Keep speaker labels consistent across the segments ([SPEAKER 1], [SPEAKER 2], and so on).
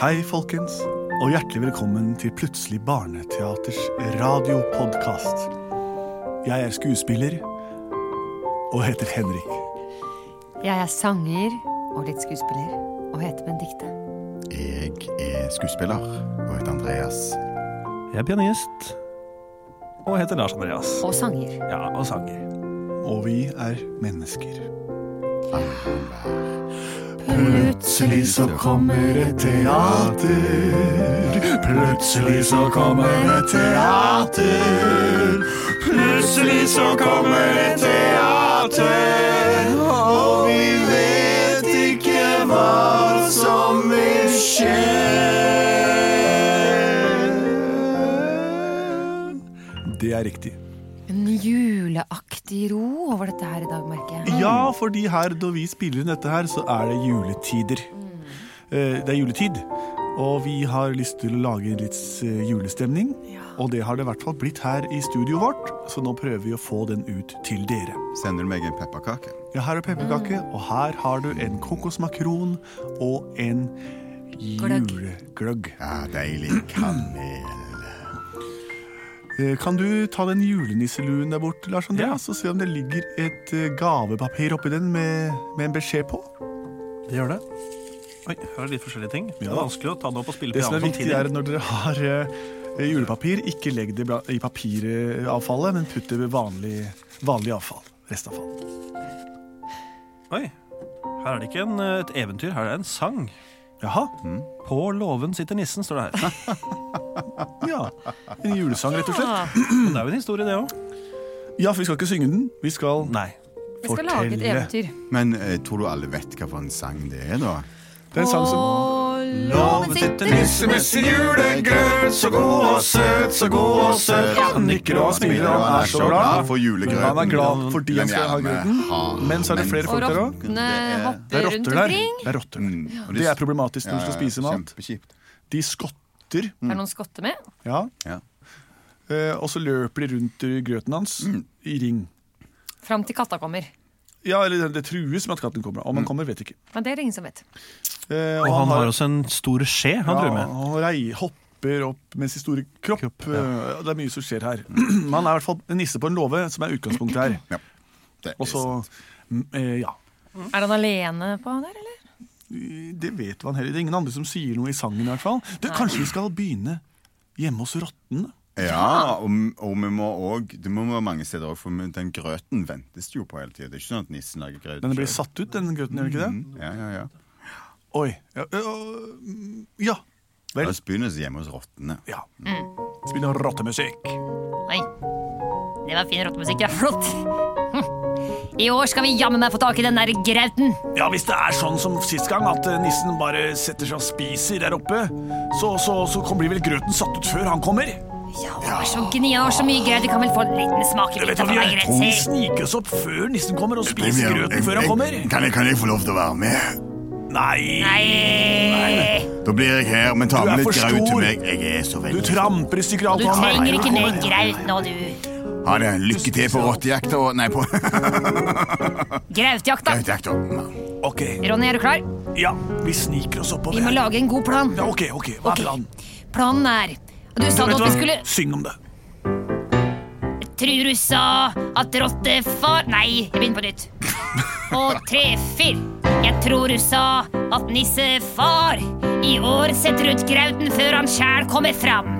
[SPEAKER 1] Hei, folkens, og hjertelig velkommen til Plutselig barneteaters radiopodkast. Jeg er skuespiller og heter Henrik.
[SPEAKER 2] Jeg er sanger og litt skuespiller og heter Benedicte.
[SPEAKER 3] Jeg er skuespiller og heter Andreas.
[SPEAKER 4] Jeg er pianist og heter Lars Andreas.
[SPEAKER 2] Og sanger.
[SPEAKER 4] Ja, og sanger.
[SPEAKER 1] Og vi er mennesker.
[SPEAKER 2] Plutselig
[SPEAKER 1] så kommer et teater. Plutselig så kommer et teater. Plutselig så kommer et teater. Og vi vet ikke hva som vil skje. Det er riktig.
[SPEAKER 2] En juleaktig ro over dette her i dag, merker jeg.
[SPEAKER 1] Ja, fordi her når vi spiller inn dette her, så er det juletider. Eh, Det er juletid, og vi har lyst til å lage litt eh, julestemning. Og det har det i hvert fall blitt her i studioet vårt, så nå prøver vi å få den ut til dere.
[SPEAKER 3] Sender du meg en pepperkake?
[SPEAKER 1] Ja, her er pepperkake, og her har du en kokosmakron og en
[SPEAKER 2] Gløgg.
[SPEAKER 1] julegløgg.
[SPEAKER 3] Ja, deilig kanel.
[SPEAKER 1] Eh, Kan du ta den julenisseluen der borte, Lars Andreas, og se om det ligger et eh, gavepapir oppi den med, med en beskjed på? Det gjør det.
[SPEAKER 4] Oi, her er litt forskjellige ting. Det
[SPEAKER 1] Ja.
[SPEAKER 4] er vanskelig å ta det opp og spille
[SPEAKER 1] Det som
[SPEAKER 4] piano
[SPEAKER 1] er viktig
[SPEAKER 4] samtidig.
[SPEAKER 1] er at når dere har eh, julepapir, ikke legg det bla- i papiravfallet, men putt det ved vanlig, vanlig avfall. Restavfall.
[SPEAKER 4] Oi, her er det ikke en, eh, et eventyr, her er det en sang.
[SPEAKER 1] Jaha.
[SPEAKER 3] Mm.
[SPEAKER 4] På låven sitter nissen, står det her.
[SPEAKER 1] Ja. En julesang, rett og slett.
[SPEAKER 2] Ah,
[SPEAKER 4] Men det er jo en historie, det òg.
[SPEAKER 1] Ja, for vi skal ikke synge den. Vi skal
[SPEAKER 4] Nei.
[SPEAKER 2] Vi skal lage et
[SPEAKER 1] fortelle.
[SPEAKER 2] eventyr.
[SPEAKER 3] Men eh, tror du alle vet hva for en sang det er, da?
[SPEAKER 1] Det er en sang som
[SPEAKER 2] Låven sitter
[SPEAKER 3] Nissemisse julegrøt, så god og søt, så god og søt.
[SPEAKER 1] Han nikker og smiler, og han er så glad.
[SPEAKER 3] for julegrøten.
[SPEAKER 1] Han er glad fordi han
[SPEAKER 3] Den
[SPEAKER 1] skal ha
[SPEAKER 3] gjerne
[SPEAKER 1] grøten.
[SPEAKER 3] har,
[SPEAKER 1] Men så er det flere
[SPEAKER 2] og
[SPEAKER 1] folk der òg.
[SPEAKER 2] rottene
[SPEAKER 1] Det
[SPEAKER 2] hopper
[SPEAKER 1] er
[SPEAKER 2] rundt
[SPEAKER 1] rotter der.
[SPEAKER 2] omkring.
[SPEAKER 1] Det er rotter.
[SPEAKER 3] Mm. Og
[SPEAKER 1] Det er problematisk når du skal
[SPEAKER 3] Ja,
[SPEAKER 1] spise mat.
[SPEAKER 3] Kjempekjipt.
[SPEAKER 1] De skotter.
[SPEAKER 2] Er det noen skotter med?
[SPEAKER 1] Ja.
[SPEAKER 3] Ja.
[SPEAKER 1] Eh, Og så løper de rundt i grøten hans
[SPEAKER 4] Mm.
[SPEAKER 1] i ring.
[SPEAKER 2] Fram til katta kommer.
[SPEAKER 1] Ja, eller det trues med at katten kommer. Om han kommer, vet ikke.
[SPEAKER 2] Men det er det ingen som vet.
[SPEAKER 1] Eh,
[SPEAKER 4] Mm. Og han har også en stor skje han
[SPEAKER 1] ja,
[SPEAKER 4] driver med.
[SPEAKER 1] han rei- hopper opp med sin store kropp. Eh, Det er mye som skjer her. Men han er i hvert fall en nisse på en låve, som er utgangspunktet her.
[SPEAKER 3] Ja. Det er
[SPEAKER 1] Og så mm, eh, ja.
[SPEAKER 2] Er han alene på der, eller?
[SPEAKER 1] Det vet man heller. Det er ingen andre som sier noe i sangen, i hvert fall. Du, kanskje vi skal begynne hjemme hos rottene?
[SPEAKER 3] Ja, og, og vi må òg Det må være mange steder òg, for den grøten ventes jo på hele tida. Det er ikke sånn at nissen lager grøt.
[SPEAKER 1] Den blir
[SPEAKER 3] selv.
[SPEAKER 1] satt ut, den grøten, gjør den ikke det?
[SPEAKER 4] Mm.
[SPEAKER 3] Ja, ja, ja.
[SPEAKER 1] Oi. Ja. øh, mm, ja.
[SPEAKER 3] La
[SPEAKER 1] Vel.
[SPEAKER 3] oss begynne hjemme hos rottene.
[SPEAKER 1] Ja.
[SPEAKER 2] Mm.
[SPEAKER 1] Så begynner rottemusikk.
[SPEAKER 2] Nei. Det var fin rottemusikk. Det er flott. Hm. I år skal vi jammen meg få tak i den der grauten.
[SPEAKER 1] Ja, hvis det er sånn som sist gang, at eh, nissen bare setter seg og spiser der oppe, så, så, så kom- blir vel grøten satt ut før han kommer.
[SPEAKER 2] Ja, vær så gni og så mye graut. Vi kan vel få en liten
[SPEAKER 1] Du
[SPEAKER 2] smakebit
[SPEAKER 1] vet hva
[SPEAKER 2] av
[SPEAKER 1] vi
[SPEAKER 2] den
[SPEAKER 1] gjør? Vi
[SPEAKER 2] grauten.
[SPEAKER 1] sniker oss opp før nissen kommer og spiser grøten før han kommer.
[SPEAKER 3] Kan jeg, få lov til å være med?
[SPEAKER 1] Nei,
[SPEAKER 2] Nei.
[SPEAKER 3] Da blir jeg her, men ta
[SPEAKER 1] Du er
[SPEAKER 3] med litt
[SPEAKER 1] for
[SPEAKER 3] graut til
[SPEAKER 1] stor.
[SPEAKER 3] meg. Jeg er så
[SPEAKER 1] du
[SPEAKER 3] veldig
[SPEAKER 1] tramper i stykker alt
[SPEAKER 2] Du
[SPEAKER 1] han har.
[SPEAKER 2] trenger ikke
[SPEAKER 1] Nei,
[SPEAKER 2] mer
[SPEAKER 1] nei, nei.
[SPEAKER 2] graut nå, du.
[SPEAKER 3] Ha det. Lykke til på rottejakta og Nei, på
[SPEAKER 2] Grautjakta.
[SPEAKER 3] grøtjakta.
[SPEAKER 1] Ok,
[SPEAKER 2] Ronny, er du klar?
[SPEAKER 1] ja, vi sniker oss oppover.
[SPEAKER 2] Vi må
[SPEAKER 1] her.
[SPEAKER 2] lage en god plan.
[SPEAKER 1] Ja, ok, ok, hva
[SPEAKER 2] Ok.
[SPEAKER 1] er planen?
[SPEAKER 2] Planen er Du sa
[SPEAKER 1] Vet
[SPEAKER 2] nå
[SPEAKER 1] du
[SPEAKER 2] at vi
[SPEAKER 1] hva?
[SPEAKER 2] skulle
[SPEAKER 1] Syng om det.
[SPEAKER 2] Trur du sa at rottefar Nei, jeg begynner på nytt. Og tre, fire. Jeg tror du sa at nissefar i år setter ut grauten før han sjæl kommer fram.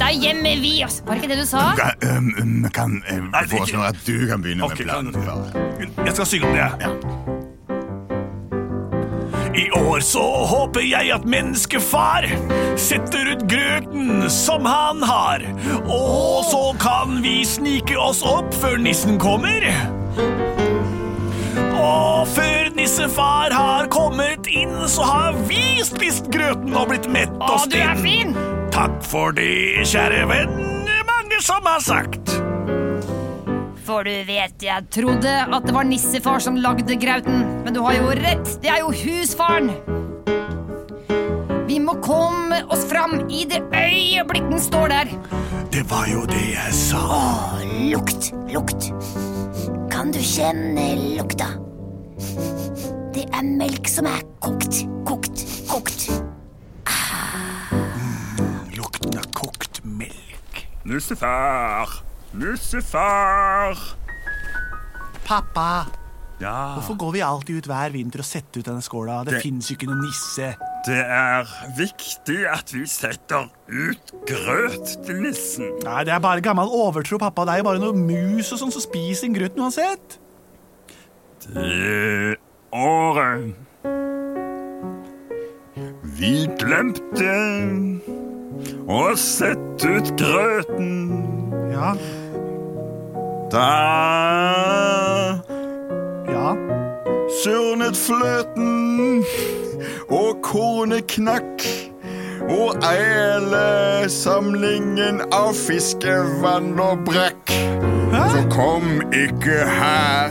[SPEAKER 2] Da gjemmer vi oss Var det ikke det du sa?
[SPEAKER 3] Kan, øhm, øhm, kan jeg
[SPEAKER 1] Nei, det er
[SPEAKER 3] foreslå at du kan begynne
[SPEAKER 1] Ok,
[SPEAKER 3] med planen?
[SPEAKER 1] kan-
[SPEAKER 3] Klara?
[SPEAKER 1] Jeg skal synge om det. jeg. I år så håper jeg at menneskefar setter ut grøten som han har. Og så kan vi snike oss opp før nissen kommer. Og før nissefar har kommet inn, så har vi spist grøten og blitt mett
[SPEAKER 2] Å,
[SPEAKER 1] og
[SPEAKER 2] du er
[SPEAKER 1] stinn.
[SPEAKER 2] fin!
[SPEAKER 1] Takk for det, kjære venn. Mange som har sagt.
[SPEAKER 2] For du vet, jeg trodde at det var nissefar som lagde grauten. Men du har jo rett, det er jo husfaren. Vi må komme oss fram i det øyeblikk den står der.
[SPEAKER 1] Det var jo det jeg sa.
[SPEAKER 5] Lukt, lukt. Kan du kjenne lukta? Det er melk som er kokt, kokt, kokt.
[SPEAKER 4] Lucifer! Lucifer!
[SPEAKER 1] Pappa,
[SPEAKER 4] Ja,
[SPEAKER 1] hvorfor går vi alltid ut hver vinter og setter ut denne skåla? Det,
[SPEAKER 4] Det-
[SPEAKER 1] finnes jo ikke noen nisse.
[SPEAKER 4] det er viktig at vi setter ut grøt til nissen.
[SPEAKER 1] Nei, det er bare gammel overtro, pappa. Det er jo bare noe mus og sånn som spiser den grøten uansett.
[SPEAKER 4] Det året Vi glemte å sette ut grøten.
[SPEAKER 1] Ja,
[SPEAKER 4] Da
[SPEAKER 1] ja.
[SPEAKER 3] Surnet fløten, og kornet knakk. Og hele samlingen av fiskevann og brekk. Så kom ikke her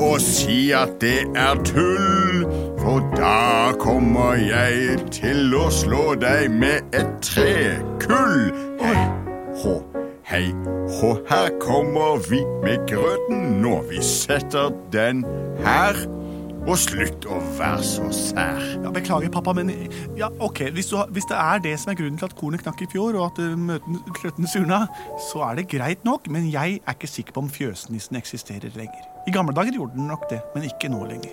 [SPEAKER 3] og si at det er tull. For da kommer jeg til å slå deg med et trekull. Hei, hå, hei, hå. Her kommer vi med grøten nå. Vi setter den her. Og slutt å være så sær.
[SPEAKER 1] Ja, beklager, pappa, men ja, ok, hvis, du har, hvis det er det som er grunnen til at kornet knakk i fjor, og at eh, møten- kløtten surna, så er det greit nok, men jeg er ikke sikker på om fjøsnissen eksisterer lenger. I gamle dager gjorde den nok det, men ikke nå lenger.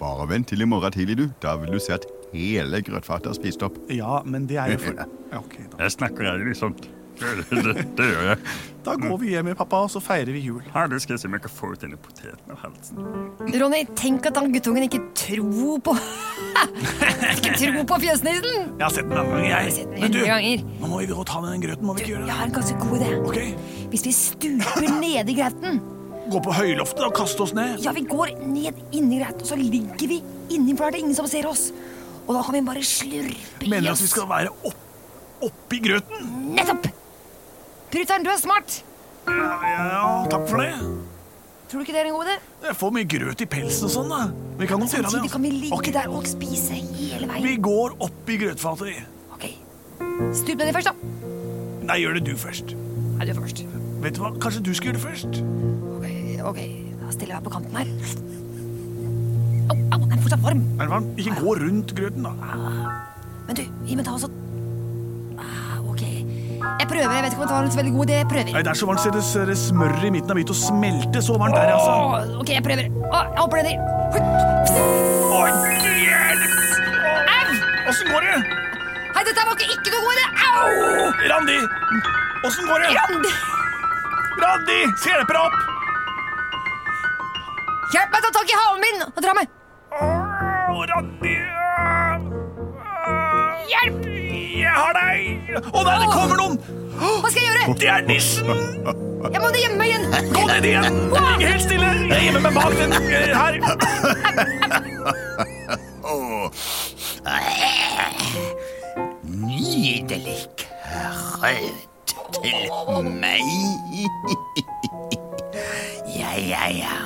[SPEAKER 3] Bare vent til i morgen tidlig, du. Da vil du se at hele grøtfatet er spist opp.
[SPEAKER 1] Ja, men det er jo for... Ja, Ok, da.
[SPEAKER 4] Jeg snakker jeg liksom det, det, det gjør jeg.
[SPEAKER 1] da går vi hjem med pappa, og så feirer vi jul.
[SPEAKER 4] Her, det skal jeg se om jeg kan få ut denne poteten av halsen.
[SPEAKER 6] Ronny, tenk at han guttungen ikke tror på Ikke tror på fjøsnissen!
[SPEAKER 1] Jeg har sett den mange ganger, jeg.
[SPEAKER 6] den
[SPEAKER 1] Men du,
[SPEAKER 6] hundre ganger.
[SPEAKER 1] nå må vi gå og ta med den grøten, må vi ikke gjøre
[SPEAKER 6] Jeg
[SPEAKER 1] det?
[SPEAKER 6] har en ganske god idé.
[SPEAKER 1] Ok,
[SPEAKER 6] Hvis vi stuper ned i grauten
[SPEAKER 1] gå på høyloftet og kaste oss ned.
[SPEAKER 6] Ja, vi går ned inni grauten, og så ligger vi inni, for da er det ingen som ser oss. Og da kan vi bare slurpe i
[SPEAKER 1] Mener du at
[SPEAKER 6] oss.
[SPEAKER 1] altså, vi skal være opp, oppi grøten?
[SPEAKER 6] Nettopp! Brutter'n, du er smart.
[SPEAKER 1] Ja, takk for det.
[SPEAKER 6] Tror du ikke det er en god idé?
[SPEAKER 1] Jeg får mye grøt i pelsen og sånn, da. Vi kan nok gjøre det.
[SPEAKER 6] Samtidig
[SPEAKER 1] altså.
[SPEAKER 6] kan vi ligge
[SPEAKER 1] Ok,
[SPEAKER 6] der og spise hele veien.
[SPEAKER 1] Vi går opp i grøtfatet, vi.
[SPEAKER 6] Ok, Stup nedi først, da.
[SPEAKER 1] Nei, gjør det du først.
[SPEAKER 6] Nei, du er først.
[SPEAKER 1] Vet du hva, kanskje du skal gjøre det først?
[SPEAKER 6] Ok, ok, da stiller jeg meg på kanten her. Au, au, den er fortsatt varm.
[SPEAKER 1] Er det varmt? Ikke gå rundt grøten, da.
[SPEAKER 6] Men du, gi meg ta også ah, Ok. Jeg prøver. Jeg vet ikke om det var en så veldig god idé. Jeg prøver.
[SPEAKER 1] Nei, det er så varmt, se det ser det smør i midten av hvit og smelte så varmt der, altså.
[SPEAKER 6] Åh, ok, jeg prøver. Åh, jeg hopper nedi. Hui. Au!
[SPEAKER 1] Åssen går det?
[SPEAKER 6] Hei, dette var ikke, ikke noe god idé. Au!
[SPEAKER 1] Randi! Åssen går det?
[SPEAKER 6] Randi,
[SPEAKER 1] Randi! Se deg opp!
[SPEAKER 6] Hjelp meg å ta tak i halen min og dra meg.
[SPEAKER 1] Åh, Randi!
[SPEAKER 6] Hjelp!
[SPEAKER 1] Jeg har deg! Å nei, det kommer noen!
[SPEAKER 6] Hva skal jeg gjøre?
[SPEAKER 1] Det er nissen!
[SPEAKER 6] Jeg må ned gjemme meg igjen.
[SPEAKER 1] Gå ned igjen! Ligg helt stille! Jeg gjemmer meg bak den eh, her.
[SPEAKER 5] Nydelig grøt til meg. Ja, ja, ja.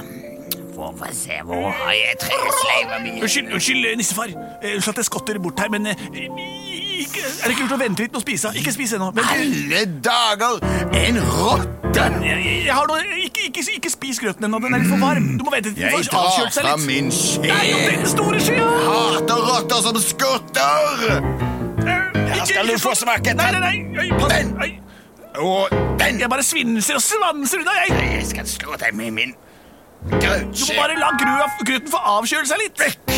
[SPEAKER 5] Få få se, hvor har jeg tresleiva mi?
[SPEAKER 1] Unnskyld, unnskyld, eh, nissefar. Eh, Unnskyld at jeg skotter bort her, men eh, ikke, Er det ikke lurt å vente litt med å spise? Ikke spis ennå. Vent.
[SPEAKER 3] Alle dager! En rotte!
[SPEAKER 1] Jeg, jeg, jeg har noe ikke, ikke, ikke spis grøten ennå. Den er litt for varm. Du må vente til den
[SPEAKER 3] Jeg
[SPEAKER 1] får
[SPEAKER 3] tar
[SPEAKER 1] avkjølt seg
[SPEAKER 3] fra
[SPEAKER 1] litt.
[SPEAKER 3] min skje.
[SPEAKER 1] Nei, og den store skya!
[SPEAKER 3] Hater rotter som skotter!
[SPEAKER 1] Her
[SPEAKER 3] skal du få smake,
[SPEAKER 1] Nei, nei, nei. Øy, pass.
[SPEAKER 3] Den.
[SPEAKER 1] Øy,
[SPEAKER 3] Og den
[SPEAKER 1] Jeg bare svinser og svanser unna, jeg.
[SPEAKER 3] Jeg skal slå deg med min
[SPEAKER 1] Du må
[SPEAKER 3] grøtskje.
[SPEAKER 1] bare la grø- grøten få avkjøle seg litt.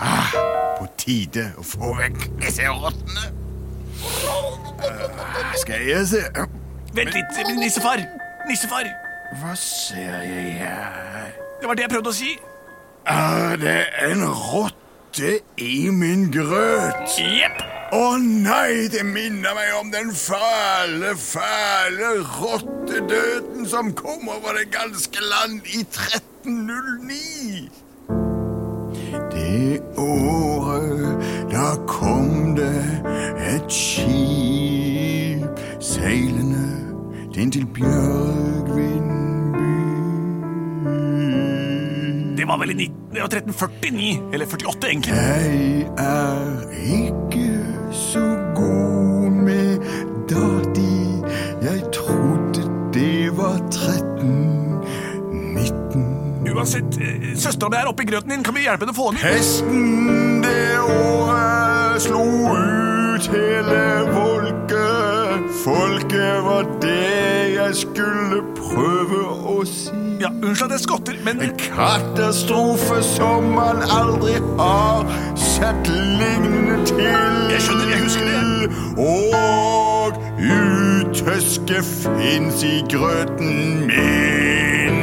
[SPEAKER 3] På tide å få vekk disse rottene. Ah, Skal jeg se
[SPEAKER 1] Vent litt, nissefar. Nissefar.
[SPEAKER 3] Hva ser jeg her?
[SPEAKER 1] Det var det jeg prøvde å si.
[SPEAKER 3] Er det en rotte i min grøt?
[SPEAKER 1] Jepp.
[SPEAKER 3] Å nei, det minner meg om den fæle, fæle rottedøden som kom over det ganske land i 1309. Det året, da kom det et skip seilende inn til Bjørgvinby.
[SPEAKER 1] Det var vel i 19, det var 1349. Eller 48, egentlig.
[SPEAKER 3] Jeg er ikke så god med dati. Jeg trodde det var 13, 19
[SPEAKER 1] Uansett, eh, søstera mi er oppi grøten din. Kan vi hjelpe henne å få henne ut?
[SPEAKER 3] Hesten det året slo ut hele folket. Folket var det jeg skulle prøve å si.
[SPEAKER 1] Ja, Unnskyld at jeg skotter, men
[SPEAKER 3] En katastrofe som man aldri har sett lignende til.
[SPEAKER 4] Jeg skjønner, jeg husker det.
[SPEAKER 3] Og utøske fins i grøten min.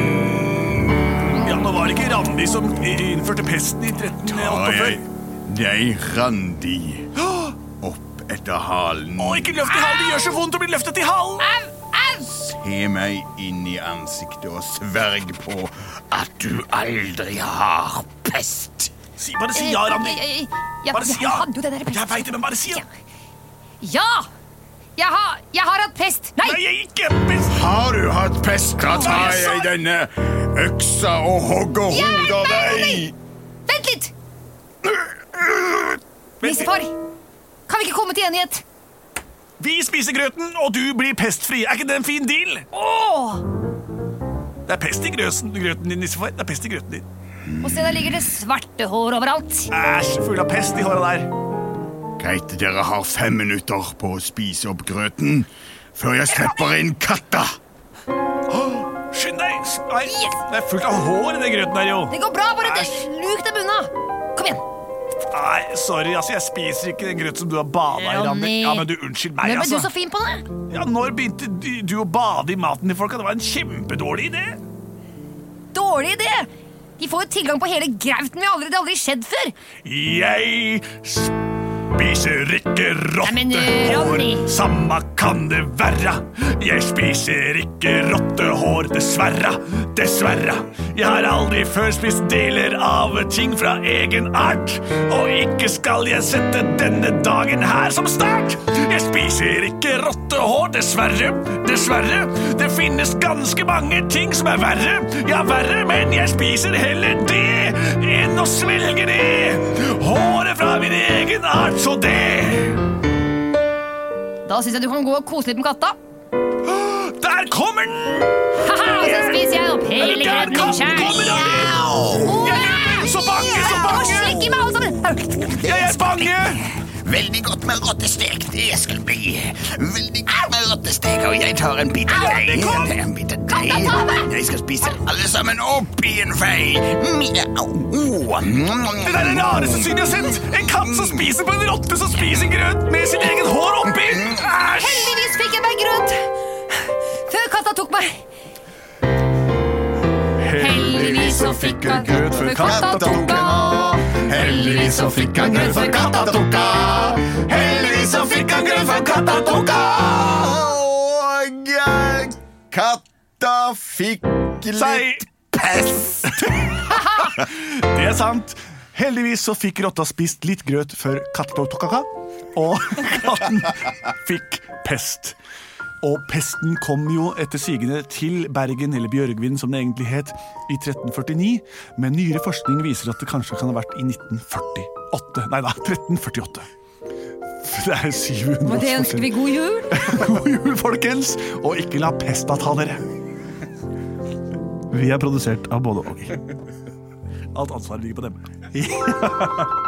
[SPEAKER 1] ja, nå var det ikke Randi som i- innførte pesten i eh, 1348.
[SPEAKER 3] Nei, Randi. Opp etter halen.
[SPEAKER 1] Å, ikke løft i halen! Det gjør så vondt å bli løftet i halen!
[SPEAKER 2] Au, au!
[SPEAKER 3] Se meg inn i ansiktet og sverg på at du aldri har pest.
[SPEAKER 1] Si, bare si ja, Randi.
[SPEAKER 6] Jeg, jeg, jeg,
[SPEAKER 1] Bare si
[SPEAKER 6] Eh, jeg
[SPEAKER 1] ja.
[SPEAKER 6] hadde jo den der
[SPEAKER 1] Jeg veit det, men bare si ja.
[SPEAKER 2] Ja! Jeg har, jeg har hatt pest. Nei!
[SPEAKER 1] Nei, jeg er ikke pest!
[SPEAKER 3] Har du hatt pest, da tar
[SPEAKER 1] Hva
[SPEAKER 3] jeg denne øksa og hogger hodet av deg.
[SPEAKER 2] Vent litt! Nissefar, kan vi ikke komme til enighet?
[SPEAKER 1] Vi spiser grøten, og du blir pestfri. Er ikke det en fin deal?
[SPEAKER 2] Åh!
[SPEAKER 1] Det er pest i grøsen, grøten din, nissefar. Det er pest i grøten din.
[SPEAKER 2] Og se, der ligger det svarte hår overalt.
[SPEAKER 1] Æsj, full av pest i håret der.
[SPEAKER 3] Greit, dere har fem minutter på å spise opp grøten før jeg slipper inn katta.
[SPEAKER 1] Skynd deg! S- Nei,
[SPEAKER 2] Yes.
[SPEAKER 1] det er fullt av hår i den grøten der, jo.
[SPEAKER 2] Det går bra, bare det, luk dem unna. Kom igjen.
[SPEAKER 1] Nei, sorry, altså, jeg spiser ikke den grøten som du har bada i, Randi.
[SPEAKER 2] Ronny.
[SPEAKER 1] Ja, men du, unnskyld meg,
[SPEAKER 2] Nå ble du
[SPEAKER 1] altså.
[SPEAKER 2] så fin på det.
[SPEAKER 1] Ja, når begynte du- du å bade i maten til folka? Det var en kjempedårlig idé.
[SPEAKER 2] Dårlig idé! De får jo tilgang på hele grauten vi aldri, det har aldri skjedd før.
[SPEAKER 1] Jeg spiser ikke
[SPEAKER 2] Nei, men, eh,
[SPEAKER 1] rottehår.
[SPEAKER 2] Ronny.
[SPEAKER 1] Samma kan det være. Jeg spiser ikke rottehår, dessverre. Dessverre. Jeg har aldri før spist deler av ting fra egen art. Og ikke skal jeg sette denne dagen her som start. Jeg spiser ikke rottehår, dessverre. Dessverre. Det finnes ganske mange ting som er verre. Ja, verre, men jeg spiser heller det enn å svelge det. Håret fra min egen art, så det.
[SPEAKER 2] Da syns jeg du kan gå og kose litt med katta.
[SPEAKER 1] Der kommer den!
[SPEAKER 2] Haha, og så spiser jeg opp
[SPEAKER 1] Der
[SPEAKER 2] hele grauten
[SPEAKER 1] kom,
[SPEAKER 2] min
[SPEAKER 1] kommer
[SPEAKER 2] sjæl.
[SPEAKER 1] den! Så bange, så bange!
[SPEAKER 2] Slikk i meg alle sammen.
[SPEAKER 1] Jeg er bange!
[SPEAKER 5] Veldig godt med rottestek. Det skal bli veldig godt med rottestek. Og jeg tar en bit av
[SPEAKER 1] Au,
[SPEAKER 5] deg.
[SPEAKER 1] det kom!
[SPEAKER 5] En bit av
[SPEAKER 2] da
[SPEAKER 5] deg.
[SPEAKER 2] tar jeg!
[SPEAKER 5] Jeg skal spise alle sammen opp i en fei. Mjau.
[SPEAKER 1] Det der er det rareste synet jeg har sett! En katt som spiser på en rotte som spiser grøt med sin egen hår oppi!
[SPEAKER 5] Mm.
[SPEAKER 1] Æsj!
[SPEAKER 2] Heldigvis fikk jeg meg grønt før katta tok meg. Heldigvis så fikk han grøt før katta tok av. Heldigvis så fikk han grøt før katta tok av.
[SPEAKER 3] Heldigvis så fikk han grøt før katta tok av. Og eh, katta fikk
[SPEAKER 1] Sei.
[SPEAKER 3] litt pest.
[SPEAKER 1] Det er sant. Heldigvis så fikk rotta spist litt grøt før katta tok kaka, og katten fikk pest. Og pesten kom jo etter sigende til Bergen, eller Bjørgvin som det egentlig het, i 1349, men nyere forskning viser at det kanskje kan ha vært i 1948. Nei da, 1348. Det er 700
[SPEAKER 2] Og det
[SPEAKER 1] års
[SPEAKER 2] ønsker vi
[SPEAKER 1] forskjell.
[SPEAKER 2] god jul.
[SPEAKER 1] God jul, folkens, og ikke la pesta ta dere. Vi er produsert av både og. Alt ansvaret ligger på dem.